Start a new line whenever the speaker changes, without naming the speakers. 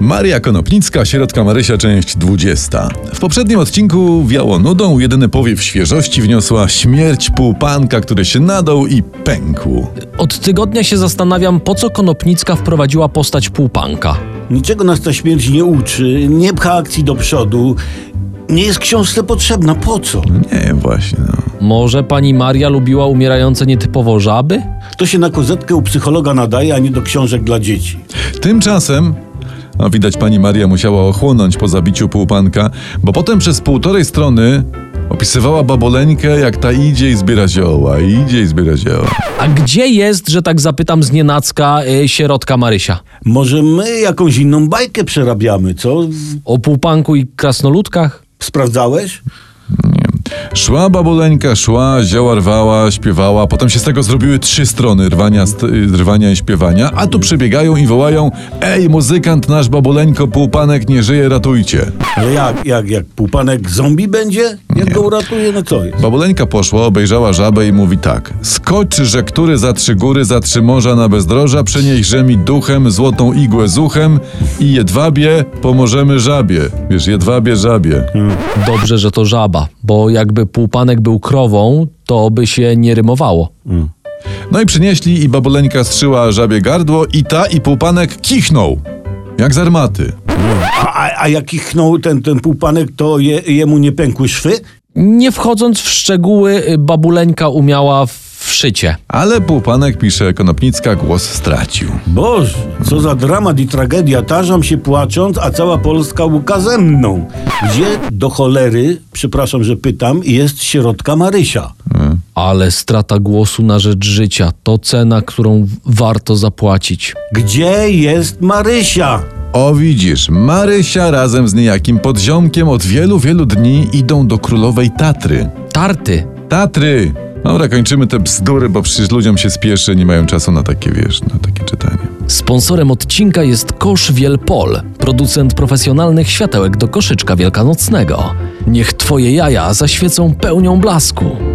Maria Konopnicka, Środka Marysia, część 20. W poprzednim odcinku wiało nudą, jedyny powiew świeżości wniosła śmierć półpanka, który się nadał i pękł.
Od tygodnia się zastanawiam, po co Konopnicka wprowadziła postać półpanka.
Niczego nas ta śmierć nie uczy, nie pcha akcji do przodu. Nie jest książce potrzebna, po co?
Nie, właśnie. No.
Może pani Maria lubiła umierające nietypowo żaby?
To się na kozetkę u psychologa nadaje, a nie do książek dla dzieci.
Tymczasem, a widać pani Maria musiała ochłonąć po zabiciu półpanka, bo potem przez półtorej strony opisywała baboleńkę, jak ta idzie i zbiera zioła, idzie i zbiera zioła.
A gdzie jest, że tak zapytam z nienacka, y, sierotka Marysia?
Może my jakąś inną bajkę przerabiamy, co?
O półpanku i krasnoludkach?
Sprawdzałeś?
Szła baboleńka, szła, zioła rwała, śpiewała, potem się z tego zrobiły trzy strony rwania, st- y, rwania i śpiewania, a tu przebiegają i wołają Ej, muzykant nasz baboleńko, półpanek nie żyje, ratujcie.
Ale jak, jak, jak półpanek zombie będzie? Jak go uratuje, no co jest?
Baboleńka poszła, obejrzała żabę i mówi tak Skocz, że który za trzy góry, za trzy morza na bezdroża, przynieś rzemi duchem, złotą igłę z uchem i jedwabie pomożemy żabie. Wiesz, jedwabie żabie.
Dobrze, że to żaba, bo jakby półpanek był krową, to by się nie rymowało.
No i przynieśli i baboleńka strzyła żabie gardło i ta i półpanek kichnął. Jak z armaty.
A, a, a jak kichnął ten, ten półpanek, to je, jemu nie pękły szwy?
Nie wchodząc w szczegóły, y, babuleńka umiała w szycie.
Ale półpanek, pisze Konopnicka, głos stracił.
Boże, co za dramat i tragedia. Tarzam się płacząc, a cała Polska łuka ze mną. Gdzie do cholery, przepraszam, że pytam, jest środka Marysia?
Ale strata głosu na rzecz życia to cena, którą w- warto zapłacić.
Gdzie jest Marysia?
O widzisz, Marysia razem z niejakim podziomkiem od wielu, wielu dni idą do królowej Tatry.
Tarty
Tatry! Dobra, kończymy te bzdury, bo przecież ludziom się spieszy, nie mają czasu na takie, wiesz, na takie czytanie.
Sponsorem odcinka jest Kosz Wielpol, producent profesjonalnych światełek do koszyczka wielkanocnego. Niech twoje jaja zaświecą pełnią blasku.